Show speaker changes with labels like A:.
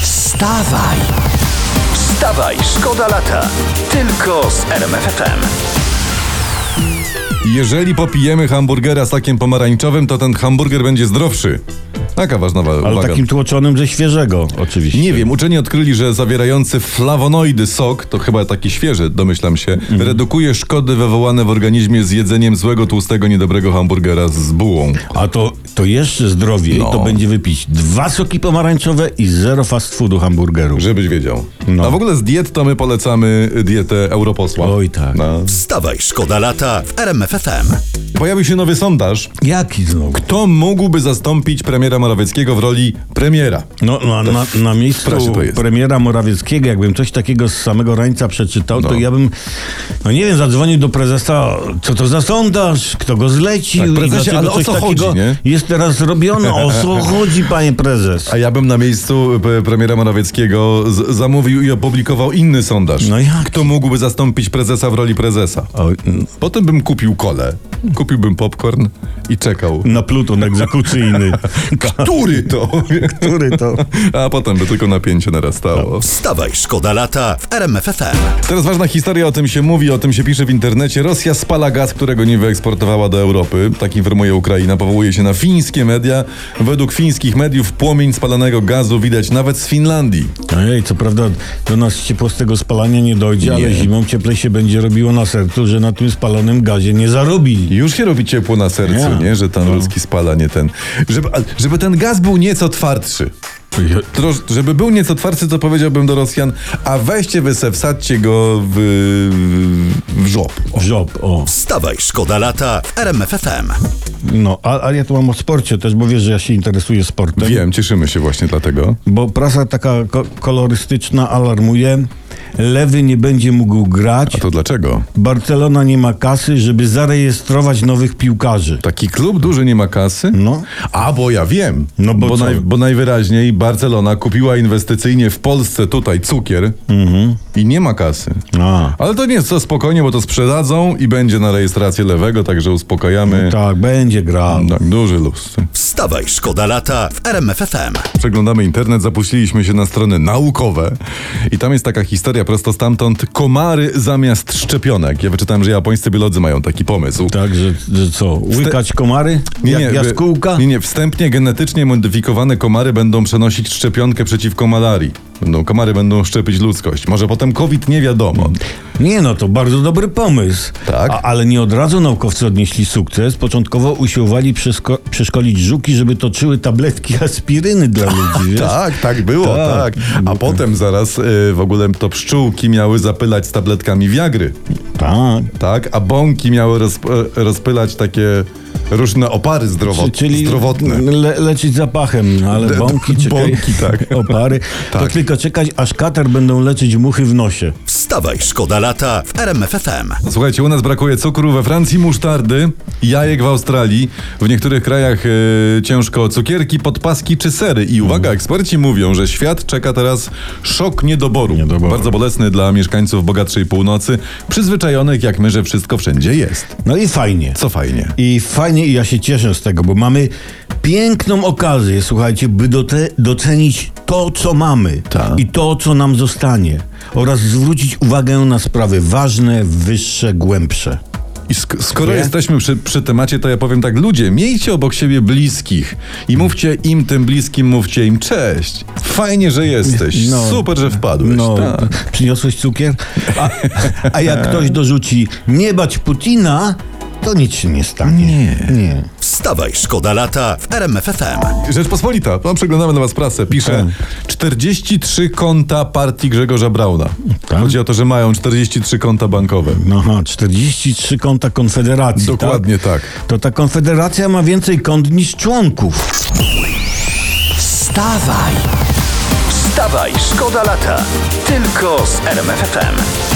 A: Wstawaj! Wstawaj, szkoda lata. Tylko z RMFFM.
B: Jeżeli popijemy hamburgera sakiem pomarańczowym, to ten hamburger będzie zdrowszy. Taka ważna wa-
C: Ale
B: uwaga.
C: takim tłoczonym ze świeżego, oczywiście.
B: Nie wiem, uczeni odkryli, że zawierający flawonoidy sok, to chyba taki świeży, domyślam się,
C: Mhm.
B: redukuje szkody wywołane w organizmie z jedzeniem złego, tłustego, niedobrego hamburgera z bułą.
C: A to, to jeszcze zdrowiej,
B: No.
C: to będzie wypić dwa soki pomarańczowe i zero fast foodu hamburgeru.
B: Żebyś wiedział.
C: No.
B: A w ogóle z diet to my polecamy y, dietę europosła.
C: Oj tak.
B: No.
A: Wstawaj, szkoda lata w RMFFM.
B: Pojawił się nowy sondaż.
C: Jaki znowu?
B: Kto mógłby zastąpić premiera Morawieckiego w roli premiera?
C: No, na, na, na miejscu
B: prasie to jest.
C: premiera Morawieckiego, jakbym coś takiego z samego rańca przeczytał, to ja bym, no nie wiem, zadzwonił do prezesa, co to za sondaż, kto go zlecił
B: Tak,
C: i
B: prezesie,
C: dlaczego
B: ale o
C: coś
B: co
C: takiego
B: chodzi, nie?
C: jest teraz robione. O co chodzi, panie prezes?
B: A ja bym na miejscu e, premiera Morawieckiego z- zamówił i opublikował inny sondaż.
C: No jak?
B: Kto mógłby zastąpić prezesa w roli prezesa?
C: O, n-
B: Potem bym kupił kolę, kupiłbym popcorn i czekał.
C: na pluton egzekucyjny.
B: Który to?
C: Który to?
B: A potem by tylko napięcie narastało.
A: Wstawaj, szkoda lata w RMFFM.
B: Teraz ważna historia, o tym się mówi, o tym się pisze w internecie. Rosja spala gaz, którego nie wyeksportowała do Europy. Tak informuje Ukraina, powołuje się na fińskie media. Według fińskich mediów płomień spalanego gazu widać nawet z Finlandii.
C: Ojej, co prawda do nas ciepło z tego spalania nie dojdzie, ale zimą cieplej się będzie robiło na sercu, że na tym spalonym gazie nie zarobi.
B: Już się robi ciepło na sercu,
C: Ja. No.
B: nie? Że ten ludzki spala, nie ten. Żeby, a- żeby ten gaz był nieco twardszy. Trosz, żeby był nieco twardszy, to powiedziałbym do Rosjan, a weźcie wy se, wsadźcie go w, w żop.
C: Żob, o.
A: Wstawaj, szkoda lata w RMFFM.
C: No, a- ale ja tu mam o sporcie też, bo wiesz, że ja się interesuję sportem.
B: Wiem, cieszymy się właśnie dlatego.
C: Bo prasa taka ko- kolorystyczna alarmuje. Lewy nie będzie mógł grać.
B: A to dlaczego?
C: Barcelona nie ma kasy, żeby zarejestrować nowych piłkarzy.
B: Taki klub duży nie ma kasy?
C: No.
B: A, bo ja wiem.
C: No bo co?
B: naj, bo najwyraźniej Barcelona kupiła inwestycyjnie w Polsce tutaj cukier
C: Mhm.
B: i nie ma kasy.
C: A.
B: Ale to nie jest co spokojnie, bo to sprzedadzą i będzie na rejestrację lewego, także uspokajamy.
C: Tak, będzie grał.
B: Tak, duży luz.
A: Wstawaj, szkoda lata w RMFFM.
B: Przeglądamy internet, zapuściliśmy się na strony naukowe i tam jest taka historia prosto stamtąd. Komary zamiast szczepionek. Ja wyczytałem, że japońscy biolodzy mają taki pomysł.
C: Tak, że, że co? Łykać komary? Jak
B: wy-
C: jaskółka?
B: Nie, nie, wstępnie genetycznie modyfikowane komary będą przenosić szczepionkę przeciwko malarii. Będą, komary będą szczepić ludzkość. Może potem COVID nie wiadomo.
C: Nie no, to bardzo dobry pomysł.
B: Tak.
C: A, ale nie od razu naukowcy odnieśli sukces. Początkowo usiłowali przesko- przeszkolić żuki, żeby toczyły tabletki aspiryny dla ludzi. wiesz?
B: Tak, tak było, tak.
C: Tak.
B: A potem zaraz y, w ogóle to pszczółki miały zapylać z tabletkami wiagry.
C: tak.
B: Tak, a bąki miały rozp- e, rozpylać takie różne opary zdrowot-
C: Czy- Czyli
B: zdrowotne.
C: le- leczyć zapachem, no ale
B: D- d-
C: bąki, czekaj,
B: bąki, tak.
C: opary. To
B: Tak.
C: tylko czekać, aż katar będą leczyć muchy w nosie.
A: Wstawaj, szkoda lata w RMFFM.
B: Słuchajcie, u nas brakuje cukru, we Francji musztardy, jajek w Australii, w niektórych krajach e, ciężko o cukierki, podpaski czy sery. I
C: Mm.
B: uwaga, eksperci mówią, że świat czeka teraz szok niedoboru.
C: Niedoboru.
B: Bardzo bolesny dla mieszkańców bogatszej północy, przyzwyczajonych jak my, że wszystko wszędzie jest.
C: No i fajnie.
B: Co fajnie.
C: I fajnie, i ja się cieszę z tego, bo mamy piękną okazję, słuchajcie, by dote, docenić to, co mamy
B: Tak.
C: i to, co nam zostanie, oraz zwrócić uwagę na sprawy ważne, wyższe, głębsze.
B: I sk- skoro
C: Nie?
B: jesteśmy przy, przy temacie, to ja powiem tak, ludzie, miejcie obok siebie bliskich i mówcie im, tym bliskim, mówcie im cześć. Fajnie, że jesteś.
C: No.
B: Super, że wpadłeś.
C: No,
B: Tak.
C: przyniosłeś cukier? A, a jak ktoś dorzuci nie bać Putina, to nic się nie stanie.
B: Nie.
C: nie.
A: Wstawaj, szkoda lata w RMFFM.
B: Rzeczpospolita, no, przeglądamy dla was prasę, pisze 43 konta partii Grzegorza Brauna.
C: Tak?
B: Chodzi o to, że mają 43 konta bankowe.
C: No Aha, 43 konta Konfederacji.
B: Dokładnie tak.
C: Tak? To ta Konfederacja ma więcej kont niż członków.
A: Wstawaj! Wstawaj, szkoda lata! Tylko z RMFFM.